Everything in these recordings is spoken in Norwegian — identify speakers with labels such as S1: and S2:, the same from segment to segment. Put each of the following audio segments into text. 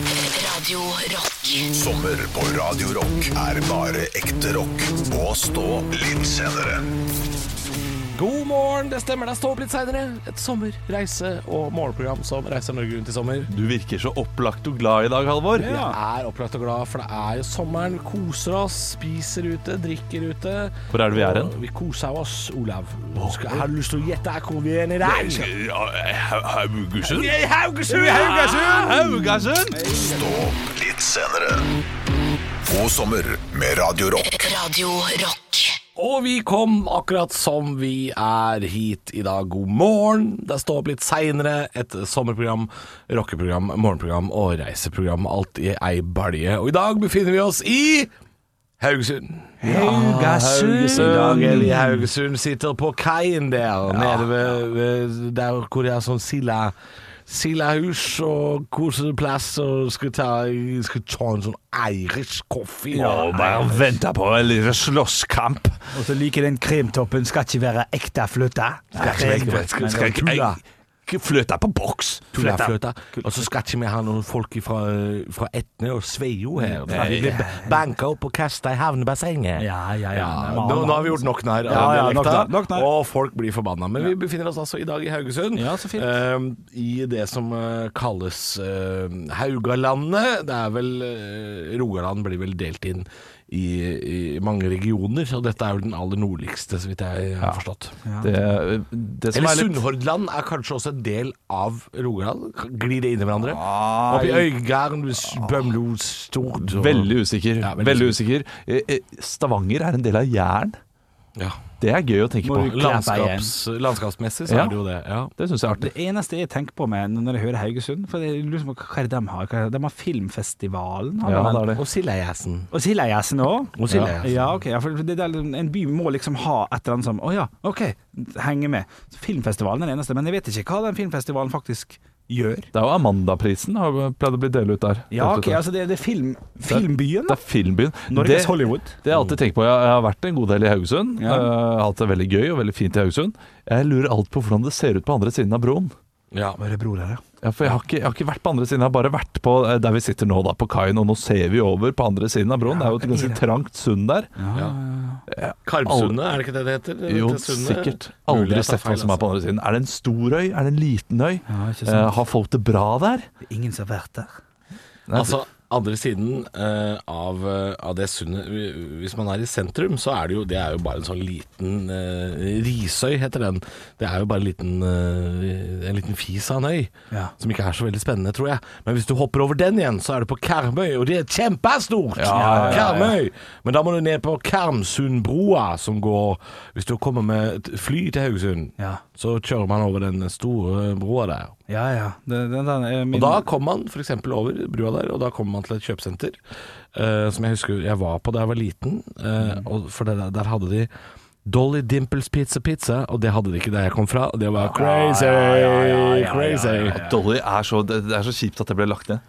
S1: Radio Rock.
S2: Sommer på Radio Rock er bare ekte rock. Og stå litt senere.
S3: God morgen, det stemmer. Det er Stå opp litt seinere. Et sommer-, reise- og morgenprogram som reiser Norge rundt i sommer.
S4: Du virker så opplagt og glad i dag, Halvor.
S3: Jeg er opplagt og glad, for det er jo sommeren. Vi koser oss, spiser ute, drikker ute.
S4: Hvor er det vi er hen?
S3: Og Vi koser oss, Olav. Skal, har du lyst til å gjette hvor vi er i dag?
S4: Haugesund?
S3: I Haugesund!
S4: Haugesund!
S2: Stå opp litt senere. God sommer med Radio Rock.
S1: Radio Rock.
S3: Og vi kom akkurat som vi er hit i dag. God morgen. Det er Stå opp litt seinere. Et sommerprogram, rockeprogram, morgenprogram og reiseprogram. Alt i ei balje. Og i dag befinner vi oss i Haugesund. I dag er vi i Haugesund. Sitter på kaien der nede ved, ved der hvor det er sånn silda. Sildahus og koseplass, og skal ta, skal ta en sånn irish coffee.
S4: Og bare venter på en liten slåsskamp.
S5: Og så liker den krimtoppen skal ikke være ekte fløte.
S4: Skal skal ikke jeg- ikke flytte på boks.
S3: Tullafløta. Og så skal ikke vi ha noen folk fra, eh, fra Etne og Sveio her. Vi blir ba- banka opp og kasta i havnebassenget.
S5: Ja, ja, ja.
S3: Nå, nå har vi gjort nok narr av
S5: Ja, ja,
S3: dialekta,
S5: nok narr, nok narr.
S3: og folk blir forbanna. Men vi befinner oss altså i dag i Haugesund,
S5: Ja, så fint.
S3: eh, i det som eh, kalles eh, Haugalandet. Det er vel eh, Rogaland blir vel delt inn i, i mange regioner, og dette er vel den aller nordligste, så vidt jeg har forstått.
S4: Det, det som er
S3: Eller
S4: litt
S3: Sunnhordland er kanskje også en del av Rogaland? Glir det inn i hverandre?
S4: Nei.
S3: Oppi Øygarden, s- Bømlo, Stord og-
S4: Veldig usikker.
S3: Ja, veldig
S4: veldig usikker. Eh, eh, Stavanger er en del av Jæren.
S3: ja.
S4: Det er gøy å tenke
S5: Må
S4: på.
S5: du klappe
S3: Landskaps, landskapsmessig så
S4: Ja.
S3: er det jo det. Ja.
S4: Det syns jeg er
S5: Det
S4: artig.
S5: eneste jeg tenker på med når jeg hører Haugesund For jeg lurer på hva er det de har? Hva er det? De har Filmfestivalen. Har
S4: Ja,
S5: de den?
S4: det er det.
S3: Og Sildajazzen.
S5: Og Sildajazzen òg.
S3: Og Sildajazzen.
S5: Ja, ok, ja, for det der, en by må liksom ha et eller annet som Å ja, OK, henge med. Filmfestivalen er den eneste, men jeg vet ikke hva den filmfestivalen faktisk gjør.
S4: Det er jo Amandaprisen har jo pleid å bli delt ut der.
S5: Ja,
S4: Delt ut
S5: ok,
S4: der.
S5: altså det, det er film, filmbyen.
S4: Det er filmbyen.
S5: Norges
S4: Det-
S5: Hollywood.
S4: Det har jeg alltid tenkt på. Jeg jeg har vært en god del i Haugesund.
S5: Ja.
S4: Eh, hatt det veldig gøy og veldig fint i Haugesund. Jeg lurer alt på hvordan det ser ut på andre siden av broen.
S3: Ja.
S5: Bare bror her, ja.
S4: Ja, for jeg har, ikke, jeg har ikke vært på andre siden, jeg har bare vært på eh, der vi sitter nå, da, på kaien. Og nå ser vi over på andre siden av broen. Det er jo et ganske trangt sund der.
S3: Karmsundet, er det ikke det det heter? Det
S4: Jo,
S3: heter sundet.
S4: sikkert.
S3: Mulig
S4: Aldri
S3: jeg tar
S4: sett hva
S3: feil,
S4: som er på andre siden. Er det en stor øy? Er det en liten øy?
S5: Ja, ikke sant.
S4: Eh, har folk det bra der?
S5: Det er ingen som har vært der.
S4: Nei,
S3: Altså, andre siden eh, av, eh, av det sundet vi- Hvis man er i sentrum, så er det jo Det er jo bare en sånn liten eh, Risøy heter den. Det er jo bare en liten, eh, en liten fis av en øy.
S5: Ja.
S3: Som ikke er så veldig spennende, tror jeg. Men hvis du hopper over den igjen, så er du på Karmøy, og det er kjempestort!
S4: Ja, ja, ja, ja.
S3: Karmøy! Men da må du ned på Karmsundbrua, som går Hvis du kommer med et fly til Haugesund,
S5: Ja.
S3: så kjører man over den store broa der.
S5: Ja, ja. Den, den, den, er
S3: Og
S5: min,
S3: da kom man f.eks. over brua der, og da kom man til et kjøpesenter eh, som jeg husker jeg var på da jeg var liten. eh, og for det, der- der hadde de Dolly Dimples Pizza Pizza, og det hadde de ikke der jeg kom fra. Og det var crazy, crazy.
S4: At Dolly er så, det, det er så kjipt at det ble lagt ned.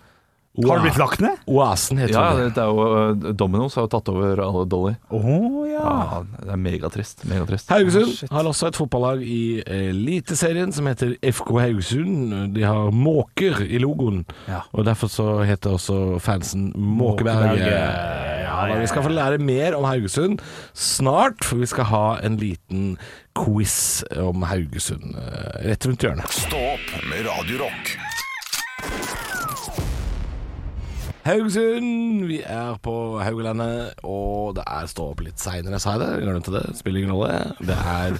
S5: Har du blitt lagt ned?
S3: Oasen heter
S4: Ja,
S3: det.
S4: det, det er jo, eh, Domino's har jo tatt over alle Dolly.
S5: Å ja.
S4: Ja, det er megatrist. megatrist. Ah,
S5: Ah,
S3: Haugesund har også et fotballag i Eliteserien som heter FK Haugesund. De har måker i logoen,
S5: Ja.
S3: og derfor så heter også fansen Måkeberget.
S5: Måkeberget.
S3: Ja, da, vi skal få lære mer om Haugesund snart, for vi skal ha en liten quiz om Haugesund eh, rett rundt hjørnet.
S2: Stå opp med Radio Rock.
S3: Haugesund, vi er på Haugalandet, og det er stå opp litt seinere, sa jeg det? Jeg Glemte det, spiller ingen rolle. Det er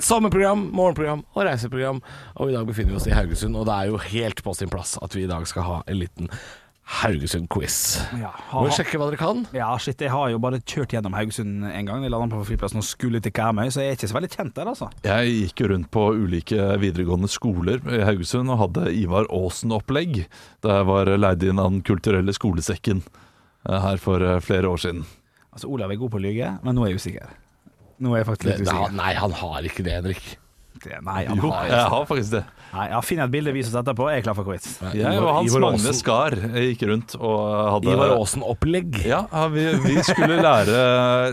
S3: et sommerprogram, morgenprogram og reiseprogram, og i dag befinner vi oss i Haugesund, og det er jo helt på sin plass at vi i dag skal ha en liten Haugesund-quiz.
S5: Ja, ha,
S3: Må
S5: ha.
S3: vi sjekke hva dere kan?
S5: ja, shit, jeg har jo bare kjørt gjennom Haugesund en gang. Jeg landa på flyplassen og skulle til Karmøy, så jeg er ikke så veldig kjent der, altså.
S4: Jeg gikk jo rundt på ulike videregående skoler i Haugesund og hadde Ivar Aasen-opplegg da jeg var leid inn av Den kulturelle skolesekken eh, her for eh, flere år siden.
S5: Altså, Olav er god på å lyge, men nå er jeg usikker. Nå er jeg faktisk
S3: Det, det,
S5: litt
S3: han,
S5: usikker.
S3: nei, han har ikke det, Henrik.
S5: Nei, han
S4: Jo,
S5: har
S4: jeg har faktisk det.
S5: Nei, ja, Finn et bilde, vis oss etterpå. Jeg er klar for quiz.
S4: Jeg og Hans
S3: Ivar
S4: Magne
S3: Aasen-
S4: Skar eh, gikk rundt og hadde
S3: Ivar Aasen-opplegg.
S4: Ja, ja, vi, vi skulle lære,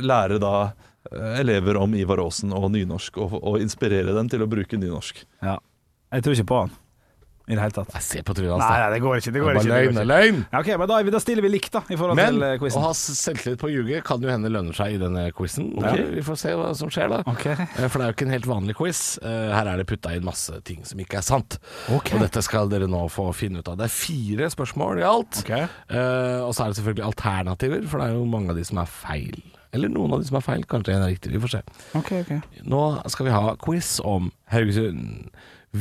S4: lære da eh, elever om Ivar Aasen og nynorsk, og, og inspirere dem til å bruke nynorsk.
S5: Ja. Jeg tror ikke på han. i det hele tatt.
S3: Nei, se på trynet hans,
S5: Nei,
S3: da.
S5: nei, det går ikke. Det
S3: Det er
S5: går ikke,
S3: Bare
S5: det
S3: løgn,
S5: går
S3: det er
S5: ikke.
S3: løgn.
S5: Ja, Ok, men da, er vi- da stiller vi likt, da, i forhold
S3: Men
S5: til eh,
S3: å
S5: quizen.
S3: ha selvtillit på å ljuge kan jo hende lønner seg i denne quizen. Ja, vi får se hva som skjer, da.
S5: Ok.
S3: Eh, For det er jo ikke en helt vanlig quiz. Eh, Her er det putta inn masse ting som ikke er sant.
S5: Ok.
S3: Og dette skal dere nå få finne ut av. Det er fire spørsmål i alt.
S5: Ok.
S3: Eh, og så er det selvfølgelig alternativer, for det er jo mange av de som er feil. Eller noen av de som er feil. Kanskje en er riktig. Vi får se.
S5: Ok, ok.
S3: Nå skal vi ha quiz om Haugesund.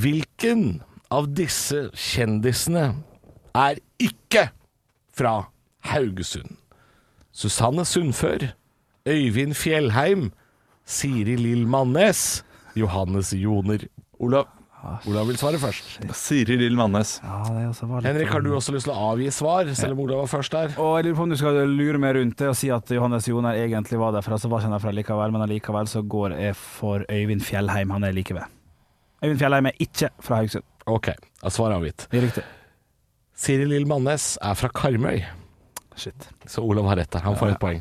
S3: Hvilken av disse kjendisene er ikke fra Haugesund? Susanne Sundfør, Øyvind Fjellheim, Siri Lill Mannes, Johannes Joner.
S4: Olav.
S3: Olav vil svare først.
S4: Siri Lill Mannes.
S5: Ja, det også var litt
S3: Henrik, har du også lyst til å avgi svar, selv om Olav var først der?
S5: Og jeg lurer på om du skal lure meg rundt det og si at Johannes Joner egentlig var derfra, så var ikke han derfra likevel, men allikevel så går jeg for Øyvind Fjellheim, han er like ved. Øyvind Fjellheim er ikke fra Haugesund.
S3: Ok, da svarer avgitt.
S5: Det er riktig.
S3: Siri Lill Mannes er fra Karmøy.
S5: Shit.
S3: Så Olav har rett der, han får et poeng.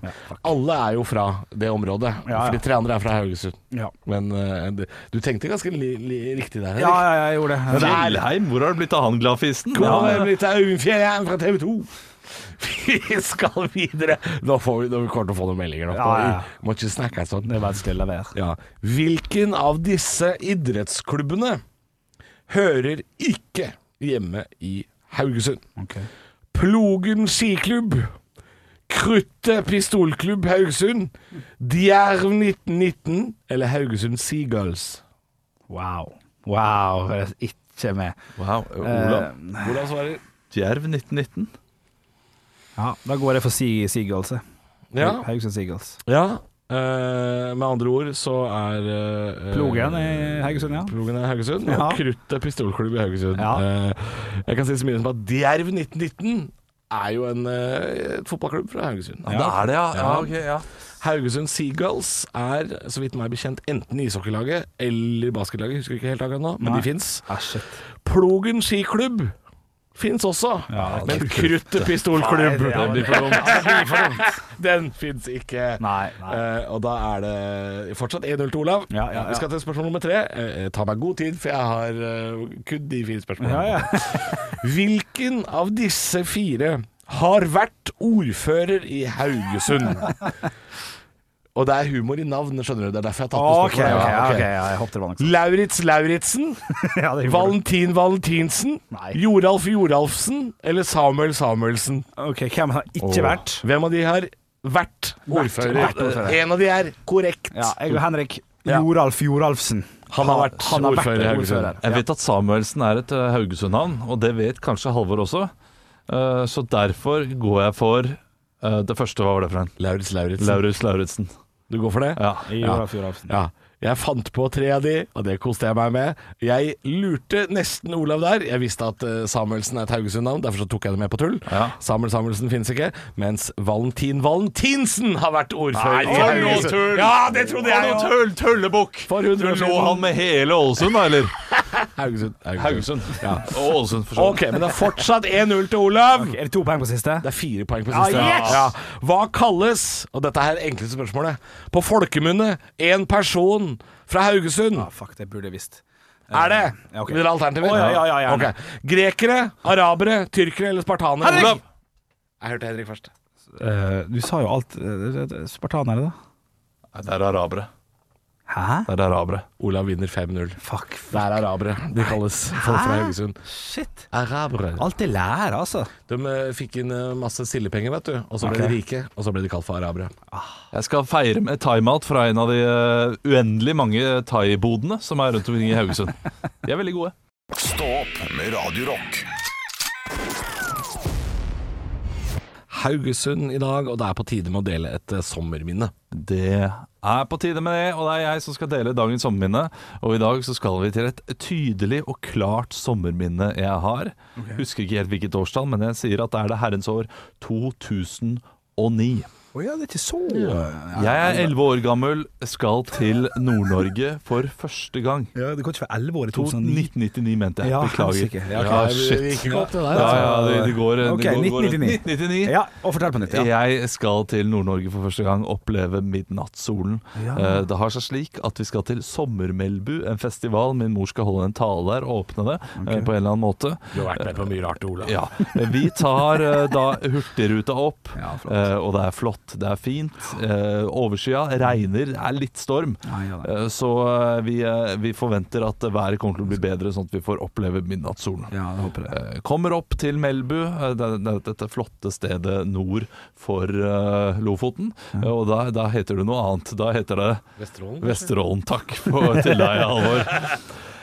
S3: Alle er jo fra det området,
S5: Ja, ja.
S3: for de tre andre er fra Haugesund.
S5: Ja.
S3: Men eh, det- du tenkte ganske li, li, riktig der, Henrik.
S5: Ja, ja, ja, jeg gjorde det.
S4: Fjellheim, hvor har det blitt av han gladfisten?
S3: Kom
S4: Ja,
S3: med litt av Øyenfjell, jeg er fra TV 2. Vi skal videre. Nå får vi, nå kommer vi til å få noen meldinger. Nå.
S5: Ja, ja.
S3: Vi Må ikke snakke sånn.
S5: Det er vanskelig å la være.
S3: Ja. Hvilken av disse idrettsklubbene hører ikke hjemme i Haugesund? Plogen skiklubb. Kruttet pistolklubb Haugesund. Djerv 1919 eller Haugesund Seagulls?
S5: Wow. Wow, det er ikke med.
S4: Wow,
S5: Eh,
S4: Olav.
S3: Hvordan svarer
S4: Djerv 1919.
S5: ja, da går jeg for Sea- Seagulls. jeg.
S3: Ja.
S5: Haugesund Seagulls.
S3: ja. eh, med andre ord så er eh,
S5: Plogen i Haugesund, ja.
S3: Plogen er Haugesund,
S5: Ja.
S3: og Kruttet pistolklubb i Haugesund.
S5: Ja.
S3: Eh, jeg kan si så mye som at Djerv 1919 er jo en eh, et fotballklubb fra Haugesund.
S4: Det er det, ja.
S3: Ja.
S4: ok, ja.
S3: Haugesund Seagulls er, så vidt meg bekjent, enten ishockeylaget eller basketlaget. Husker ikke helt akkurat nå, men
S5: Nei.
S3: de fins.
S5: Ah, shit.
S3: Plogen skiklubb fins også,
S5: Ja,
S3: men
S5: det-
S3: Kruttet pistolklubb
S5: Nei, det- ja,
S3: den blir for dumt. Den fins ikke.
S5: Nei, nei.
S3: Eh, og da er det fortsatt 1-0 til Olav.
S5: Ja, ja, ja.
S3: Vi skal til spørsmål nummer tre. Eh, eh, ta meg god tid, for jeg har eh, kun de fire spørsmålene.
S5: Ja, ja.
S3: Hvilken av disse fire har vært ordfører i Haugesund? og det er humor i navnet, skjønner du. Det er derfor jeg har tatt med
S5: Ok, ok,
S3: spørsmålet. Ja, ok.
S5: ok, ja, jeg håpet det var noe sånt.
S3: Lauritz Lauritzen,
S5: Ja, det gjorde det.
S3: Valentin Valentinsen,
S5: Nei.
S3: Joralf Joralfsen eller Samuel Samuelsen?
S5: Ok, hvem har ikke vært?
S3: Hvem av de har vært ordfører?
S5: vært ordfører.
S3: Eh, En av de er korrekt.
S5: Ja, jeg og Henrik.
S3: Ja.
S5: Joralf Joralfsen.
S3: Han har vært
S5: han har
S3: ordfører i
S5: vært
S3: Haugesund.
S5: ordfører.
S4: Jeg vet at Samuelsen er et eh, Haugesund-navn, og det vet kanskje Halvor også. Eh, Så derfor går jeg for eh, Det første, hva var det for en?
S3: Lauritz Lauritzen.
S4: Laurus Lauritzen.
S3: Du går for det?
S4: Ja.
S5: Joralf Joralfsen.
S3: Ja. Jeg fant på tre av de, og det koste jeg meg med. Jeg lurte nesten Olav der. Jeg visste at eh, Samuelsen er et Haugesund-navn, derfor så tok jeg det med på tull.
S4: Ja.
S3: Samuel Samuelsen finnes ikke, mens Valentin Valentinsen har vært ordfører i
S4: for noe
S3: Haugesund.
S4: tull!
S3: Ja, det trodde jeg
S4: Å,
S3: også.
S4: tull, tullebukk!
S3: For 100 år
S4: Lå han
S3: siden.
S4: med hele Ålesund, da, eller?
S3: Haugesund. Haugesund.
S4: Haugesund. Og Ålesund, for så vidt.
S3: Ok, men det er fortsatt 1-0 til Olav.
S5: Er det to poeng på siste?
S3: Det er fire poeng på siste.
S5: Ah, yes!
S3: ja. Hva kalles, og dette er det enkleste spørsmålet, på folkemunne en person fra Haugesund?
S5: Ah, fuck, det burde jeg visst. Eh,
S3: Er det?
S5: Ja, ok.
S3: Vil dere ha alternativer?
S5: Å, ja, ja, ja, gjerne.
S3: Ok. Grekere, arabere, tyrkere eller spartanere?
S5: Henrik!
S3: Olav! Jeg hørte Henrik først.
S5: Eh, du sa jo alt eh, Spartanere, da.
S4: Nei, Det er arabere.
S5: Hæ?
S4: Det er arabere.
S3: Olav vinner 5-0.
S5: Fuck.
S3: Det er arabere. De kalles folk fra Haugesund.
S5: Shit.
S3: Arabere.
S5: Alt det lærer, altså.
S3: De eh, fikk inn eh, masse sildepenger, vet du. Og så ble
S5: Ok.
S3: de rike, og så ble de kalt for arabere.
S4: Jeg skal feire med timeout fra en av de eh, uendelig mange thaibodene som er rundt omkring i Haugesund. De er veldig gode.
S2: Stå opp med Radio Rock.
S3: Haugesund i dag, og det er på tide med å dele et eh, sommerminne.
S4: Det er på tide med det, og det er jeg som skal dele dagens sommerminne. Og i dag så skal vi til et tydelig og klart sommerminne jeg har. Husker ikke helt hvilket årstall, men jeg sier at det er det herrens år 2009.
S5: Å ja, det er ikke så eh,
S4: Jeg er elleve år gammel, skal til Nord-Norge for første gang.
S5: Ja, Du kan ikke være elleve år i
S4: To-
S5: 2009.
S4: 1999, mente jeg.
S5: Ja,
S4: Beklager.
S5: helsike.
S3: Ja, ok,
S4: Ja,
S3: det
S4: shit.
S3: gikk godt, det der.
S4: Ja,
S3: altså.
S4: ja, det, det går, det
S5: Ok,
S4: går, går
S5: 1999.
S4: 1999.
S5: Ja, og fortell på nytt. Ja.
S4: Jeg skal til Nord-Norge for første gang, oppleve midnattssolen. Eh, Det har seg slik at vi skal til Sommermelbu, en festival. Min mor skal holde en tale der og åpne det eh, på en eller annen måte.
S3: Du har vært med på mye rart, Ola.
S4: Ja. Vi tar eh, da Hurtigruta opp,
S5: Ja, flott.
S4: eh, og det er flott, det er fint. Eh, Overskya, regner, det er litt storm.
S5: Nei, ja,
S4: Eh, Så eh, vi, eh, vi forventer at været kommer til å bli bedre, sånn at vi får oppleve midnattssolen.
S5: ja, jeg håper det.
S4: Eh, Kommer opp til Melbu, eh, det- det- dette flotte stedet nord for eh, Lofoten. Eh, Og da, da heter det noe annet. Da heter det
S3: Vesterålen?
S4: Vesterålen, takk for, til deg, Halvor.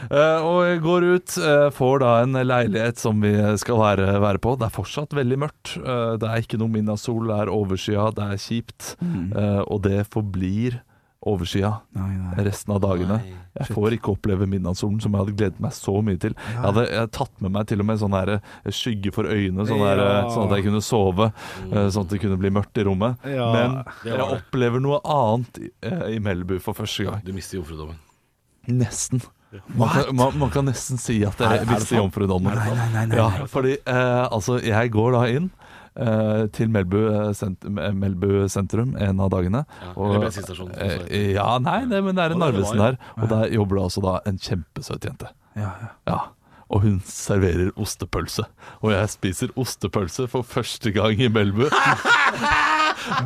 S4: Eh, og jeg går ut, eh, får da en leilighet som vi skal være, være på. Det er fortsatt veldig mørkt. Eh, det er ikke noe minnasol, det er overskya, det er kjipt. Eh, og det forblir overskya
S5: Nei, nei.
S4: resten av dagene. Jeg får ikke oppleve midnattssolen, som jeg hadde gledet meg så mye til. Jeg hadde jeg hadde tatt med meg til og med sånn her eh, skygge for øynene, sånn, her, eh,
S5: Ja. Mm.
S4: sånn at jeg kunne sove. eh, Sånn at det kunne bli mørkt i rommet.
S5: Ja.
S4: Men
S3: Det var
S4: jeg
S3: det.
S4: opplever noe annet i, eh, i Melbu for første gang.
S3: Du mister jomfrudommen.
S4: Nesten. Man kan, man, man kan nesten si at jeg visste jomfrudommen.
S5: Nei, nei, nei, nei,
S4: Ja,
S5: nei.
S4: fordi eh, altså, jeg går da inn eh, til Melbu, eh, sent, eh, Melbu sentrum en av dagene.
S3: Ja, eller bensinstasjonen, som det
S4: eh, ja, nei, nei, men det er en
S3: Å, det var
S4: Narvesen
S3: jo-
S4: der. Og der jobber det altså da en kjempesøt jente.
S5: Ja, ja.
S4: Ja. Og hun serverer ostepølse. Og jeg spiser ostepølse for første gang i Melbu.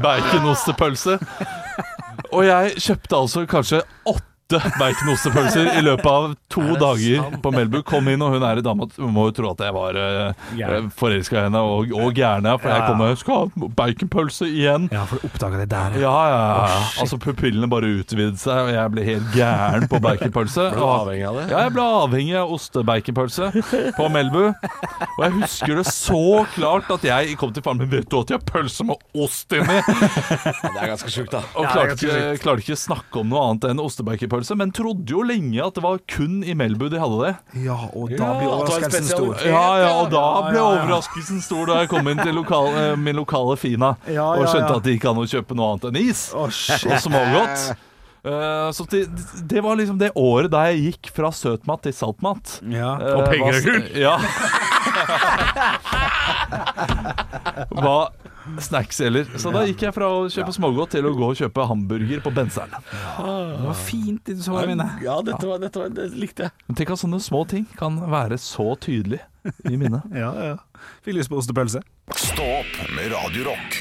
S4: Baconostepølse. Og jeg kjøpte altså kanskje åtte baconostepølser i løpet av to dager på Melbu. Kom inn, og hun er i dama. Hun må jo tro at jeg var uh,
S5: Gæren.
S4: forelska i henne, og, og gæren, ja. For jeg kom med 'skal ha baconpølse igjen'.
S5: ja, for du oppdaga det der.
S4: Ja, ja, ja. altså pupillene bare utvidet seg, og jeg ble helt gæren på baconpølse.
S3: Ble du
S4: Og-
S3: avhengig av det?
S4: Ja, jeg ble avhengig av ostebaconpølse på Melbu. Og jeg husker det så klart at jeg kom til faren min Vet du at de har pølse med ost inni?
S3: Det er ganske sjukt, da.
S4: Og klarte ikke, klarte ikke snakke om noe annet enn ostebaconpølse, men trodde jo lenge at det var kun i Melbu de hadde det.
S5: Ja, og da blir
S3: Ja, at det var en
S5: overraskelsen
S3: spesial-
S5: stor.
S4: Ja, ja, og da ble
S5: ja, ja.
S4: overraskelsen stor da jeg kom inn til lokal, eh, min lokale Fina
S5: Ja,
S4: og
S5: ja,
S4: skjønte
S5: ja.
S4: at det gikk an å kjøpe noe annet enn is
S5: Å, shit.
S4: og smågodt. Eh, så det, det var liksom det året da jeg gikk fra søtmat til saltmat.
S5: Ja.
S4: Eh,
S3: Og penger er
S4: var-
S3: kult.
S4: Ja. Hva snacks gjelder. Så da gikk jeg fra å kjøpe smågodt til å gå og kjøpe hamburger på benseren.
S5: Det var fint i sårene mine.
S3: Ja, dette, var, dette var, det likte jeg.
S4: Men Tenk at sånne små ting kan være så tydelig i minnet.
S5: Ja, ja. Fikk lyst på ostepølse.
S2: Stå opp med Radio Rock.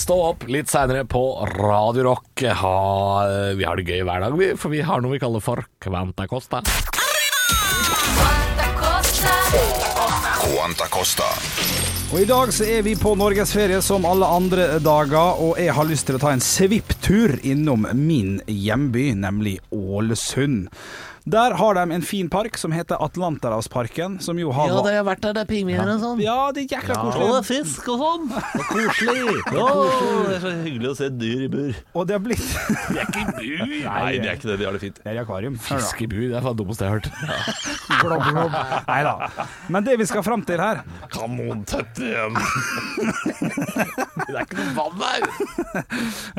S3: Stå opp litt seinere på Radio Rock. Ha, eh, vi har det gøy hver dag, vi, for vi har noe vi kaller for Quanta Costa.
S2: Quanta Costa.
S5: Og I dag så er vi på norgesferie som alle andre dager, og jeg har lyst til å ta en svipptur innom min hjemby, nemlig Ålesund. Der har de en fin park som heter Atlanterhavsparken, som jo har
S1: har vært der, det er pingviner og sånn.
S5: Ja, det er jækla koselig.
S1: fisk og sånn.
S4: det er så hyggelig å se dyr i bur.
S5: Og det har blitt
S4: Nei, det er ikke det. De har det fint.
S5: Det er i akvarium. Hør da.
S3: Fiskebu, det er faen dummeste jeg har hørt.
S5: Glob, glob. Nei da. Men det vi skal fram til her
S3: Kanontøtte igjen. Det er ikke noe vann her.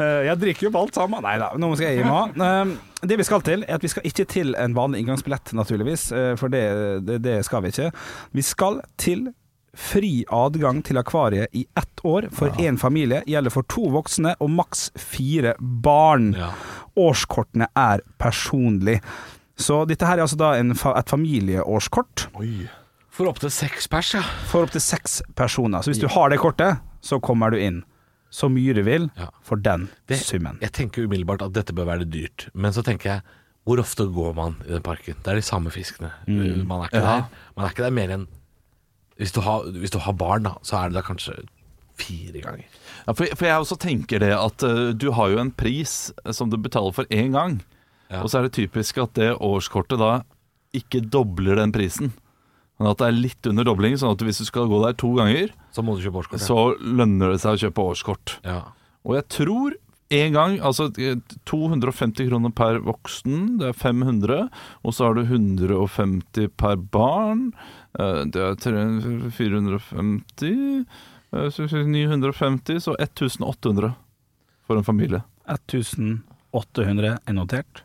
S5: eh, Jeg drikker jo opp alt sammen. Nei da, nå skal jeg hjem òg. Ehm, Det vi skal til, er at vi skal ikke til en vanlig inngangsbillett, naturligvis. eh, For det, det, det skal vi ikke. Vi skal til fri adgang til akvariet i ett år for én familie. Gjelder for to voksne og maks fire barn.
S3: Ja.
S5: Årskortene er personlig. Så dette her er altså da en, fa- et familieårskort.
S3: For opptil seks pers, ja.
S5: for opptil seks personer. Så hvis du har det kortet, så kommer du inn. Så mye du vil
S3: Ja.
S5: for den
S3: Det,
S5: summen.
S3: jeg tenker umiddelbart at dette bør være dyrt, men så tenker jeg hvor ofte går man i den parken? Det er de samme fiskene. Man, er ikke
S4: Ja.
S3: der. man er ikke der mer enn hvis du, har, hvis du har barn, da, så er det da kanskje fire ganger.
S4: Ja, for, for jeg også tenker det at eh, du har jo en pris eh, som du betaler for én gang.
S3: Ja.
S4: Og så er det typisk at det årskortet da ikke dobler den prisen. Men at det er litt under dobling, sånn at hvis du skal gå der to ganger,
S3: Så må du kjøpe årskort. ja.
S4: så lønner det seg å kjøpe årskort.
S3: Ja.
S4: Og jeg tror én gang, altså eh, 250 kroner per voksen, det er 500. Og så har du 150 per barn, eh, det er 300, 450. Eh, så- så 950, så 1800 for en familie.
S5: 1800 er notert.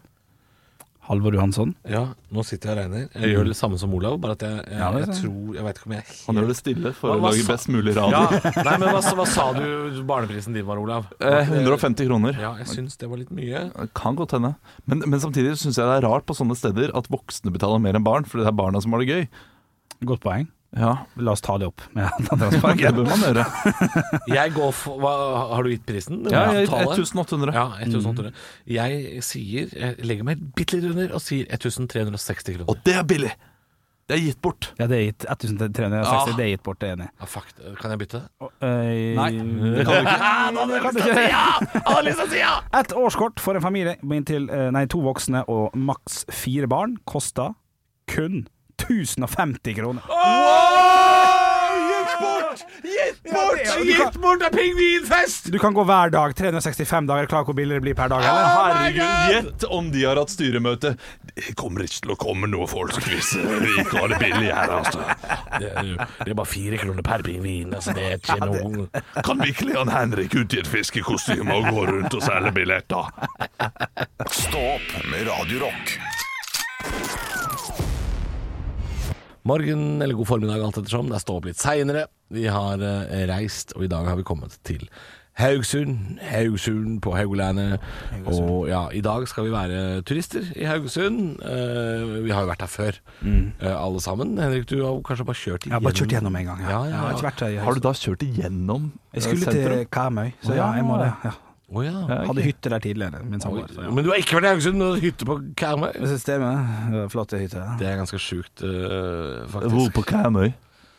S5: Halvor Johansson.
S3: Ja, nå sitter jeg og regner. Jeg gjør det samme som Olav, bare at jeg, jeg,
S5: Ja, det er
S3: jeg
S5: sant.
S3: tror Jeg veit ikke om jeg
S4: Han gjør det stille for
S3: Hva-
S4: å
S3: hva
S4: lage
S3: sa-
S4: best mulig radio.
S3: Ja, nei, men hva, hva sa du barneprisen din var, Olav?
S4: Eh, 150 kroner.
S3: Ja, jeg syns det var litt mye.
S4: Kan godt hende. Men, men samtidig syns jeg det er rart på sånne steder at voksne betaler mer enn barn, fordi det er barna som har det gøy.
S5: Godt poeng.
S4: Ja,
S5: La oss ta det opp med
S4: det
S5: Atlanterhavsparken.
S4: bør man gjøre.
S3: Jeg går for hva, Har du gitt prisen?
S4: Ja, jeg-
S3: Tallet?
S4: 1800.
S3: Ja, 1800. Jeg sier Jeg legger meg bitte litt under og sier 1360 kroner.
S4: Og det er billig! Det er gitt bort.
S5: Ja, det er gitt 1360. Det er gitt bort, det er enig.
S3: Ja, fuck, kan jeg bytte? Ah,
S5: Nei.
S4: Det kan du ikke.
S5: Et årskort for en familie med inntil eh, Nei, to voksne og maks fire barn koster kun 1050 kroner.
S3: Gitt bort! Gitt
S5: bort! Gitt
S3: bort av pingvinfest!
S5: Du kan gå hver dag 365 dager. Klar hvor billig det blir per dag, eller?
S4: Herregud, gjett om de har hatt styremøte.
S2: Det kommer ikke til å komme noe folk hvis vi ikke har det billig her, altså.
S3: Det er, jo- det er bare fire kroner per pingvin. Altså, det er ikke noe
S2: Kan virkelig han Henrik ut i et fiskekostyme og gå rundt og selge billetter? Stå opp med Radio Rock.
S3: Morgen eller god formiddag, alt ettersom. Det er stå opp litt seinere. Vi har eh, reist, og i dag har vi kommet til Haugsund. Haugsund på Haugalandet. Og ja, i dag skal vi være turister i Haugesund. Eh, vi har jo vært her før, eh, alle sammen. Henrik, du har kanskje bare kjørt
S5: Mm. Jeg har bare kjørt gjennom en gang. Ja.
S3: Ja, ja,
S5: Jeg har ikke vært der. i
S4: Har
S5: høst.
S4: du da kjørt igjennom eh,
S5: Jeg skulle til
S4: sentrum?
S5: Karmøy, så ja, jeg må det. Ja.
S3: Å, ja.
S4: Ja, ok.
S5: Hadde hytte der tidligere, min samboer. så ja.
S3: Men du har ikke vært i Haugesund? Du har hytte på Karmøy?
S5: Det Systemet. det var Flotte hytte.
S3: Det er ganske sjukt, eh,
S4: Hvor
S3: faktisk.
S4: på Karmøy?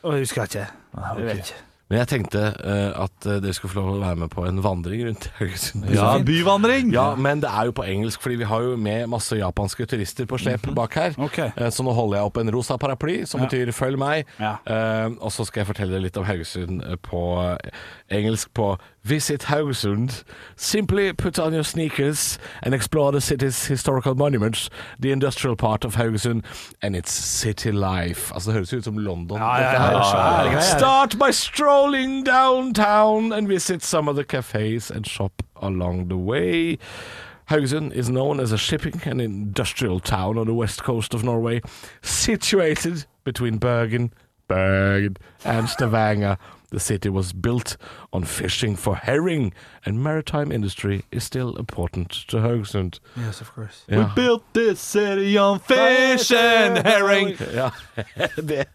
S5: Og jeg husker ikke. Jeg vet ikke.
S3: Men jeg tenkte eh, at eh, dere skulle få lov å være med på en vandring rundt Haugesund.
S4: Ja, byvandring!
S3: Ja, men det er jo på engelsk, fordi vi har jo med masse japanske turister på slep bak her.
S5: Mhm. Ok.
S3: Eh, Så nå holder jeg opp en rosa paraply, som betyr 'følg meg'.
S5: Ja.
S3: Eh, og så skal jeg fortelle deg litt om Haugesund eh, på eh, engelsk på Visit Haugesund. Simply put on your sneakers and explore the city's historical monuments, the industrial part of Haugesund and its city life. Altså, det høres jo ut som London.
S5: Ja, ja,
S3: dette her.
S5: ja, svære greier.
S3: Start by strolling downtown and visit some of the cafes and shop along the way. Haugesund is known as a shipping and industrial town on the west coast of Norway, situated between Bergen, Bergen and Stavanger. The city was built on fishing for herring, and maritime industry is still important to Haugesund.
S5: Yes, of course.
S4: We
S3: Ja.
S4: built this city on fish and herring.
S3: Ja, det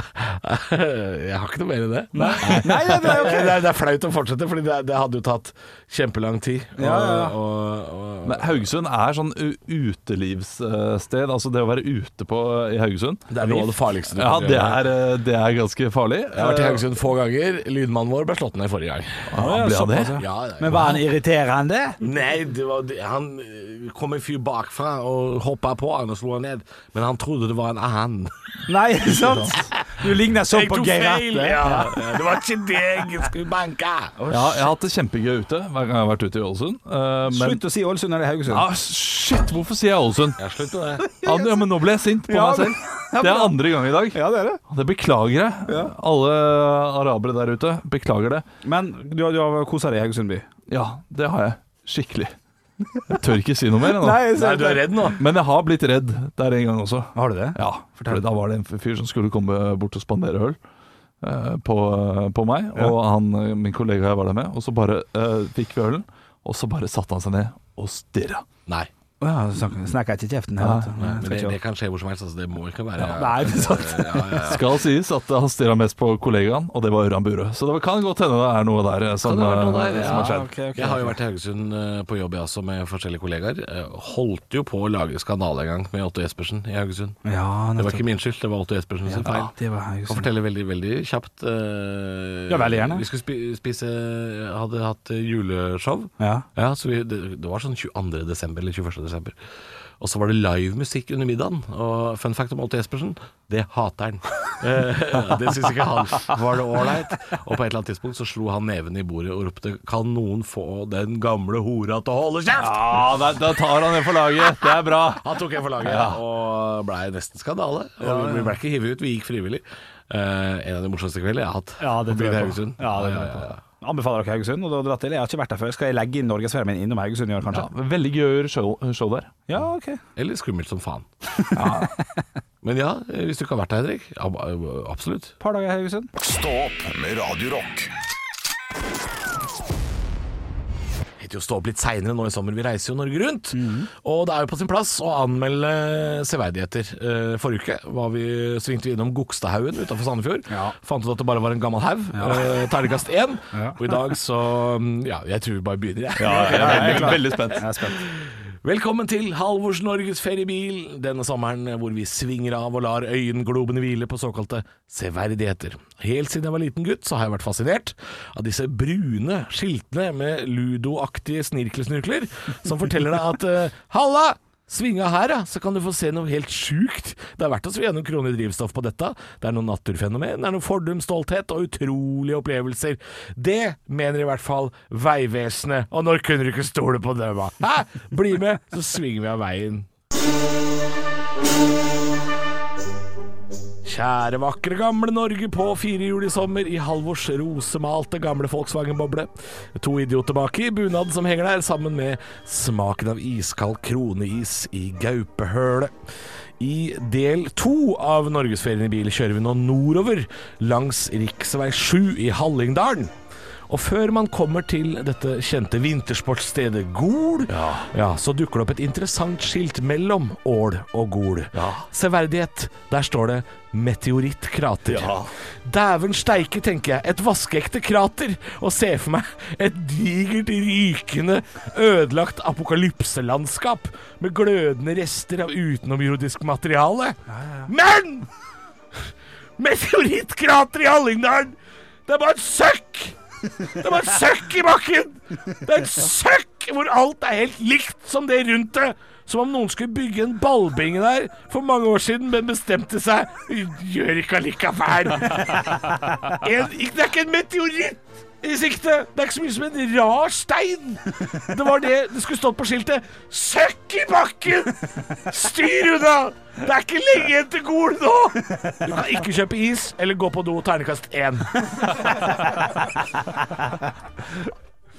S3: Jeg har ikke noe mer enn det. Nei, det, er det er flaut å fortsette, Fordi det, det hadde jo tatt kjempelang tid. Og,
S5: Ja, ja, ja.
S3: Og, og,
S4: Men Haugesund er sånn u- utelivssted. Altså det å være ute på, eh, i Haugesund.
S3: det er noe av det farligste du
S4: Ja,
S3: kan
S4: det
S3: gjøre.
S4: er, eh, det er ganske farlig. Eh,
S3: Jeg har vært i Haugesund få ganger. Lydmannen vår ble slått ned forrige gang.
S4: Ja, ble han det?
S3: Ja, ja.
S5: Men var han irriterende?
S3: Nei, det var, det- han eh, kom en fyr bakfra og hoppa på han og slo han ned. Men han trodde det var en annen.
S5: Nei, sant? Du ligner sånn på Geir Atle.
S3: Ja. Det var ikke deg jeg skulle banke.
S4: Ja, jeg har hatt det kjempegøy ute hver gang jeg har vært ute i Ålesund. eh, men-
S5: Slutt å si Ålesund eller Haugesund.
S4: Ah, shit, hvorfor sier jeg Ålesund?
S3: Ja, slutt med det.
S4: Ja, ja, men nå ble jeg sint på
S5: Ja,
S4: meg
S5: men-
S4: selv. Det er andre gang i dag.
S5: Ja, det er det.
S4: Det beklager jeg. Alle arabere der ute, beklager det.
S5: Men du, har- du har kosa deg i Haugesund by?
S4: Ja, det har jeg. Skikkelig. Jeg tør ikke si noe mer ennå.
S5: jeg
S3: Nei, du er redd nå?
S4: Men jeg har blitt redd der en gang også.
S5: Har du det?
S4: Ja, for da var det en fyr som skulle komme bort og spandere øl eh, på, på meg. Og han, eh, min kollega jeg var der med. Og så bare eh, fikk vi ølen, og så bare satte han seg ned og stirra.
S3: Nei.
S5: Ja, Snakker jeg ikke i kjeften her?
S4: Nei,
S5: vet du. Nei,
S3: Ah, Men
S5: skal
S3: det,
S5: ikke.
S3: det kan skje hvor som helst. Altså, det må ikke være
S5: Nei, det er sant.
S3: Ja, ja, ja.
S4: Skal sies at han stirra mest på kollegaen, og det var Ørjan Burøe. Så det kan godt hende det er noe der eh, som,
S3: Kan det ha vært noe
S4: eh,
S3: der,
S4: som
S3: ja,
S4: har
S3: Ah,
S4: skjedd.
S5: ok, ok,
S3: Jeg har jo
S5: ok.
S3: vært i Haugesund eh, på jobb jeg også med forskjellige kollegaer. Eh, Holdt jo på å lage skandale en gang med Otto Jespersen i Haugesund.
S5: Ja,
S3: Det var ikke min skyld, det var Otto Jespersen sin feil.
S5: Det
S3: Jeg
S5: var
S3: kan
S5: Haugesund.
S3: fortelle veldig veldig kjapt. eh,
S5: Ja, veldig gjerne.
S3: Vi skulle spi- spise Hadde hatt eh, juleshow.
S5: Ja.
S3: Ja, så vi, det, det var sånn 22. desember eller 21. desember. Og så var det live musikk under middagen. Og fun fact om Otto Jespersen, det hater han. Eh, det syns ikke han var det ålreit. Og på et eller annet tidspunkt så slo han neven i bordet og ropte 'Kan noen få den gamle hora til å holde kjeft?'
S4: Ja, da, da tar han det for laget. Det er bra.
S3: Han tok en for laget og blei nesten skandale. Og vi ble ikke hivet ut, vi gikk frivillig. eh, en av de morsomste kveldene jeg har hatt.
S5: Ja, det
S3: Forbi
S5: tror jeg på.
S3: Haugesund.
S5: Ja, det tror jeg på. Anbefaler dere Haugesund? Og da dra til. Jeg har ikke vært der før. Skal jeg legge inn norgesferien min innom Haugesund i år,
S4: Ja,
S5: kanskje?
S4: veldig gøy å gjøre show, show der.
S5: Ja, ok.
S3: Eller skummelt som faen. Men ja, hvis du ikke har vært der, Henrik. ab- Absolutt.
S5: Par dager i Haugesund.
S2: Stå opp med Radio Rock.
S3: heter jo Stå opp litt seinere nå i sommer. Vi reiser jo Norge rundt.
S5: Mhm.
S3: Og det er jo på sin plass å anmelde severdigheter. Eh, Forrige uke var vi, svingte vi innom Gokstadhaugen utenfor Sandefjord.
S5: Ja.
S3: Fant ut at det bare var en gammel haug. Eh, Terningkast én.
S5: Ja.
S3: Og i dag så mm, Ja, jeg tror vi bare begynner, jeg.
S5: jeg er klar.
S4: veldig spent.
S5: Jeg er spent.
S3: Velkommen til Halvors Norges feriebil denne sommeren, eh, hvor vi svinger av og lar øyenglobene hvile på såkalte severdigheter. Helt siden jeg var liten gutt, så har jeg vært fascinert av disse brune skiltene med ludoaktige snirkelsnurkler, som forteller deg at eh, Halla! Svinga her, ja, så kan du få se noe helt sjukt. Det er verdt å svi gjennom kroner i drivstoff på dette. Det er noe naturfenomen, det er noe fordum, stolthet og utrolige opplevelser. Det mener i hvert fall Vegvesenet, og når kunne du ikke stole på dem, da? Hæ? Bli med, så svinger vi av veien. Kjære vakre gamle Norge på firehjul i sommer i Halvors rosemalte gamle Volkswagen-boble. To idioter baki, bunad som henger der, sammen med smaken av iskald kroneis i gaupehølet. I del to av Norgesferien i bil kjører vi nå nordover langs rv. 7 i Hallingdalen. Og før man kommer til dette kjente vintersportsstedet Gol, ja. så dukker det opp et interessant skilt mellom Ål og Gol. Severdighet. Der står det 'meteorittkrater'. Dæven steike, tenker jeg. Et vaskeekte krater. Og ser for meg et digert, rykende, ødelagt apokalypselandskap med glødende rester av utenomjordisk materiale. Men! Meteorittkrater i Hallingdalen! Det er bare et søkk! Det er bare et søkk i bakken! Det er et søkk hvor alt er helt likt som det rundt det. Som om noen skulle bygge en ballbinge der for mange år siden, men bestemte seg Vi gjør ikke allikevel. En, ikke- det er ikke en meteoritt i sikte. Det er ikke så mye som en rar stein. Det var det det skulle stått på skiltet. Søkk i bakken! Styr unna! Det er ikke lenge igjen til Gol nå! Du kan ikke kjøpe is eller gå på do ternekast én.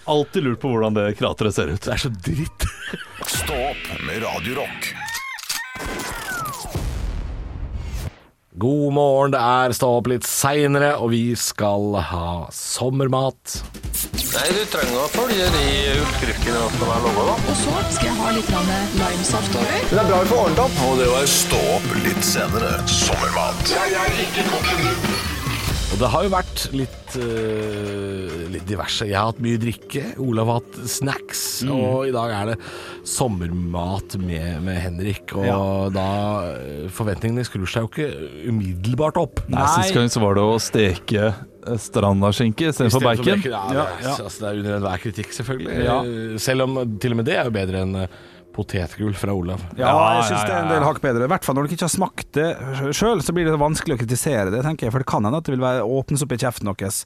S4: Alltid lurt på hvordan det krateret ser ut.
S3: Det er så dritt.
S2: Stå opp med Radio Rock.
S3: God morgen, det er Stå opp litt seinere, og vi skal ha sommermat.
S6: Nei, du trenger å følge de oppskriftene som er laga, da.
S7: Og så skal jeg ha litt grann limesaft over.
S6: Det er bra vi får ordnet opp.
S2: Og det var Stå opp litt senere. Sommermat.
S3: Og det har jo vært litt, eh, litt diverse. Jeg har hatt mye drikke, Olav har hatt snacks, og i dag er det sommermat med, med Henrik. Og da eh, Forventningene skrur seg jo ikke umiddelbart opp.
S4: Nei, Sist gang så var det å steke eh, strandaskinke istedenfor
S3: Istedenfor
S4: bacon.
S3: bacon, Ja, det, er- Altså, det er under enhver kritikk, selvfølgelig.
S4: Ja.
S3: Selv om til og med det er jo bedre enn eh, potetgull fra Olav.
S5: Ja, jeg
S4: ja,
S5: syns det er en
S4: ja, ja.
S5: del hakk bedre. I hvert fall når dere ikke har smakt det sjøl, så blir det vanskelig å kritisere det, tenker jeg. For det kan hende at det vil være, åpnes opp i kjeften deres.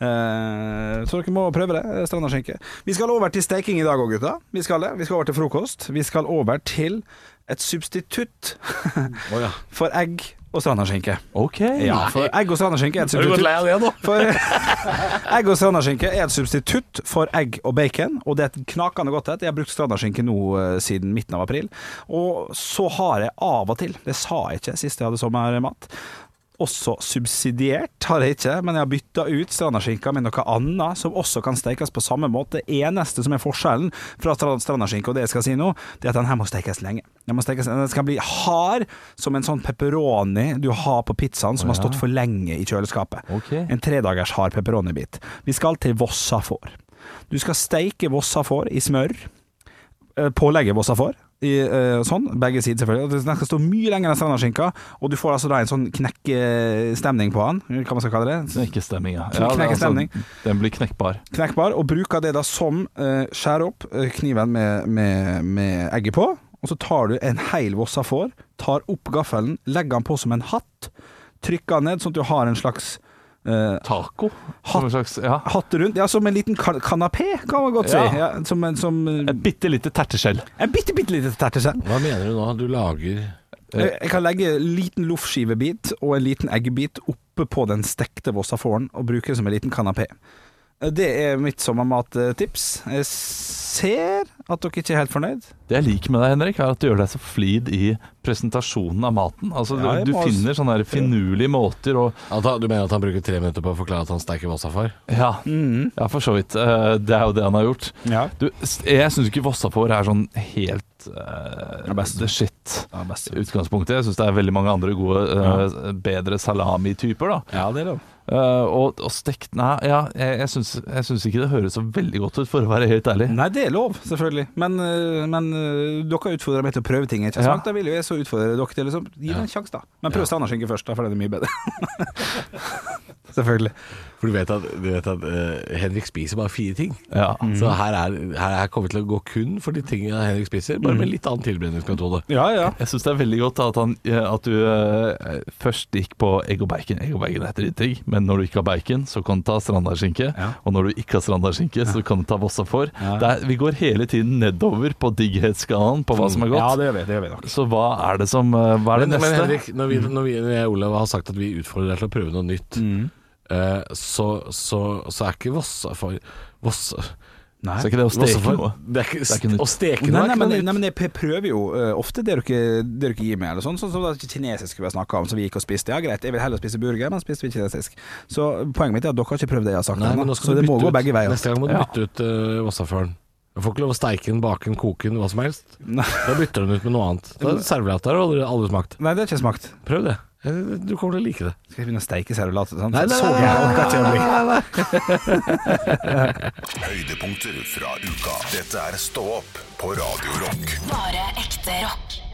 S5: Eh, så dere må prøve det. Strandaskinke. Vi skal over til steking i dag òg, gutta. Vi skal det. Vi skal over til frokost. Vi skal over til et substitutt
S3: Å ja.
S5: for egg og strandaskinke.
S4: Ok.
S5: Ja, for egg og strandaskinke er et substitutt.
S3: av det nå?
S5: For egg og strandaskinke er et substitutt for egg og bacon, og det er et knakende godt et. Jeg har brukt strandaskinke nå eh, siden midten av april. Og så har jeg av og til, det sa jeg ikke sist jeg hadde sommermat, også subsidiert har jeg ikke, men jeg har bytta ut strandaskinka med noe annet som også kan stekes på samme måte. Det eneste som er forskjellen fra stra- strandaskinka og det jeg skal si nå, det er at den her må stekes lenge. Den, må stekes, den skal bli hard som en sånn pepperoni du har på pizzaen som har stått for lenge i kjøleskapet.
S4: Ok.
S5: En tredagers hard pepperoni-bit. Vi skal til Vossa får. Du skal steike Vossa får i smør. Eh, Pålegge Vossa får. I, eh, sånn, begge sider selvfølgelig. Og Den skal stå mye lenger enn strandaskinka, og du får altså da en sånn knekkestemning på den. Hva man skal kalle det?
S4: Knekkestemning, ja.
S5: Så
S4: ja
S5: knekker
S4: det er altså
S5: stemning.
S4: den blir knekkbar.
S5: knekkbar, og bruker det da som eh, skjærer opp eh, kniven med, med, med egget på, og så tar du en hel vossa får, tar opp gaffelen, legger den på som en hatt, trykker den ned sånn at du har en slags eh,
S4: Taco?
S5: Hatt.
S4: Som en slags, ja.
S5: hatt rundt, ja, som en liten kan kanapé, kan man godt si.
S4: Ja.
S5: Ja, som eh, en, som,
S4: Et bitte lite terteskjell.
S5: en bitte, bitte liten terteskjell.
S3: Hva mener du nå? Du lager
S5: Jeg jeg kan legge en liten loffskivebit og en liten eggebit oppe på den stekte vossafåren og bruke det som en liten kanapé. Det er mitt sommermattips. Jeg ser at dere ikke er helt fornøyd.
S4: Det jeg liker med deg, Henrik, er at du gjør deg så flid i presentasjonen av maten. Altså,
S5: Ja, jeg
S4: du, du
S5: må også-
S4: finner sånne der finurlige måter å
S8: At han- du mener at han bruker tre minutter på å forklare at han steiker vossafar?
S4: ja,
S5: Mm.
S4: ja, for så vidt. Eh, Det er jo det han har gjort.
S5: Ja.
S4: Du, s- jeg syns ikke Vossafår er sånn helt eh,
S5: Ja, best.
S4: the shit
S5: Ja, best.
S4: i utgangspunktet. Jeg syns det er veldig mange andre gode, eh, bedre salamityper, da.
S5: Ja, det er det.
S4: Eh, og, og stekt Nei, ja, jeg, jeg syns jeg syns ikke det høres så veldig godt ut, for å være helt ærlig.
S5: Nei, det er lov, selvfølgelig. Men, øh, men øh, dere utfordrer meg til å prøve ting. Ikke
S4: Ja.
S5: sant? Da vil jo jeg så utfordre dere til liksom, Gi det en sjanse, da. Men prøv strandaskinke først, da, for den er mye bedre. selvfølgelig.
S8: For du vet at, du vet at eh, Henrik spiser bare fire ting.
S4: Ja.
S3: Mm.
S5: Mm.
S8: Så her er, her er kommet til å gå kun for de tingene Henrik spiser,
S3: Mm.
S8: bare med litt annen tilberedningsmetode.
S5: Ja, ja.
S4: Jeg syns det er veldig godt at, han, at du eh, først gikk på egg og bacon. Egg og bacon er dritdigg, men når du ikke har bacon, så kan du ta strandarskinke.
S5: Ja.
S4: Og når du ikke har strandarskinke, så kan du ta vossafår. Det er- Vi går hele tiden nedover på digghetsskalaen på hva som er
S5: Ja,
S4: godt.
S5: det gjør vi, det gjør vi nok.
S4: Så hva er det som eh, Hva er det
S8: Men, men
S4: neste?
S8: Henrik, når,
S5: Mm.
S8: vi, når, vi, når jeg og Olav har sagt at vi utfordrer deg til å prøve noe nytt, eh, så, så, så er ikke Vossafar Voss,
S5: Nei.
S4: så er ikke det å steke
S8: Vossafar
S4: noe.
S8: Det er ikke,
S4: er ikke noe nytt.
S8: Å steke
S5: Nei,
S8: noe er
S5: nei,
S8: ikke
S5: men,
S8: noe
S5: nei,
S8: nytt.
S5: men jeg p- prøver jo øh, ofte det dere, det dere gir meg, eller sånn. Sånn som det kinesiske vi har snakka om, som vi gikk og spiste. Ja, greit, jeg vil heller spise burger, men spiste vi kinesisk. Så poenget mitt er at dere har ikke prøvd det jeg har sagt
S8: Nei,
S5: ennå,
S8: men nå
S5: så
S8: skal du
S5: det må
S8: bytte
S5: gå
S8: ut.
S5: begge veier.
S8: Neste gang må du
S4: Ja.
S8: bytte ut uh, Vossafaren. Du får ikke lov å steike den, bake den, koke den, hva som helst.
S5: Nei.
S8: Da bytter du den ut med noe annet. Da serverer jeg at det har aldri, aldri smakt.
S5: Nei, det har ikke smakt.
S8: Prøv det. Du kommer til å like det.
S5: Skal jeg begynne å steike servelat? Sånn?
S8: Nei, nei,
S5: Så
S8: nei, nei,
S5: gæren kan ikke jeg bli.
S2: Høydepunkter fra uka. Dette er Stå opp på Radio Rock.
S9: Bare ekte rock.